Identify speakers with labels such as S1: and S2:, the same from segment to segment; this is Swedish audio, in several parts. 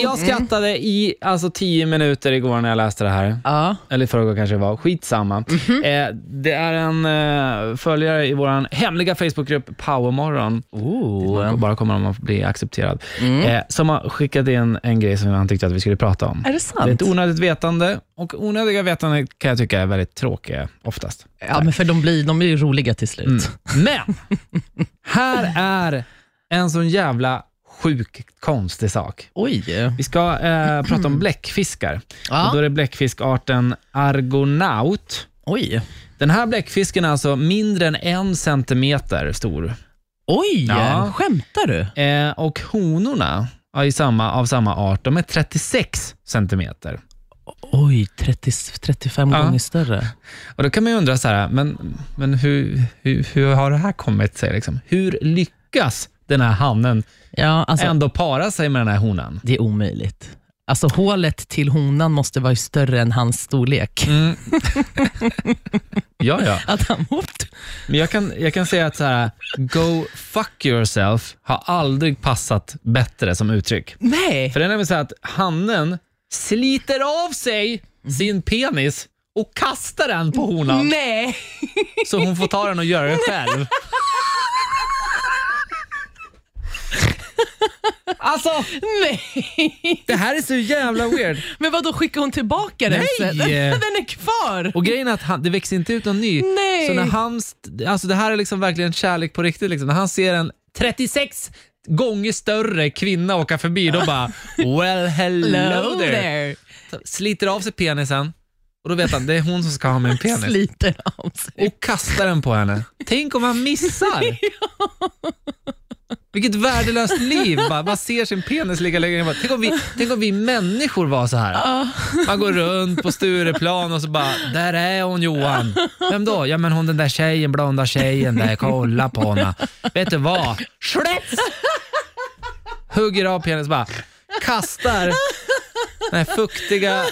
S1: Jag
S2: Mm.
S1: skrattade i alltså, tio minuter igår när jag läste det här.
S2: Ja.
S1: Eller i förrgår kanske det var. Skitsamma.
S2: Mhm.
S1: Eh, det är en eh, följare i vår hemliga Facebookgrupp Powermorgon.
S2: Oh.
S1: Man bara kommer om man blir accepterad.
S2: Mm.
S1: Eh, som har skickat in en grej som han tyckte att vi skulle prata om.
S2: Är det sant?
S1: Det är ett onödigt vetande och onödiga vetande kan jag tycka är väldigt tråkiga oftast.
S2: Ja, men för de blir, de blir ju roliga till slut.
S1: Mm. Men här är en sån jävla sjuk konstig sak.
S2: Oj.
S1: Vi ska eh, prata om bläckfiskar.
S2: Ja.
S1: Och då är det bläckfiskarten argonaut.
S2: Oj.
S1: Den här bläckfisken är alltså mindre än en centimeter stor.
S2: Oj!
S1: Ja.
S2: Skämtar du?
S1: Eh, och honorna är ju samma, av samma art, de är 36 centimeter.
S2: Oj, 30, 35
S1: Ja.
S2: gånger större.
S1: Och då kan man ju undra så här, men, men hur, hur, hur har det här kommit sig? Liksom? Hur lyckas den här hannen
S2: Ja, alltså,
S1: ändå para sig med den här honan?
S2: Det är omöjligt. Alltså hålet till honan måste vara större än hans storlek.
S1: Mm. Ja, ja.
S2: Att han, Ops.
S1: Men jag kan, jag kan säga att så här, go fuck yourself har aldrig passat bättre som uttryck.
S2: nej!
S1: För det är nämligen så här att hannen sliter av sig sin penis och kastar den på honan,
S2: Nej!
S1: så hon får ta den och göra det själv. Alltså,
S2: Nej!
S1: det här är så jävla weird.
S2: Men vad då skickar hon tillbaka den
S1: Nej.
S2: sen? Den är kvar!
S1: Och grejen är att han, det växer inte ut någon ny.
S2: Nej.
S1: Så när han, st- alltså det här är liksom verkligen kärlek på riktigt. Liksom. När han ser en 36 gånger större kvinna åka förbi, då bara well hello
S2: Hello
S1: there.
S2: there.
S1: Sliter av sig penisen och då vet han det är hon som ska ha min penis.
S2: Sliter av sig.
S1: Och kastar den på henne. Tänk om han missar! Vilket värdelöst liv. Bara, man ser sin penis ligga längre ner. Bara, Tänk om, vi, tänk om vi människor var så här. Man går runt på Stureplan och så bara, där är hon Johan. Vem då? Ja men hon den där tjejen, blonda tjejen där, kolla på henne. Vet du vad? Schlitz! Hugger av penis bara, kastar den här fuktiga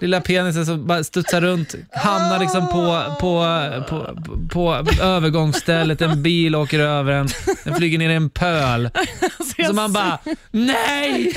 S1: lilla penisen som bara studsar runt, hamnar liksom på, på, på, på, på övergångsstället, en bil åker över den, den flyger ner i en pöl.
S2: Alltså,
S1: Så
S2: jag
S1: man bara, nej!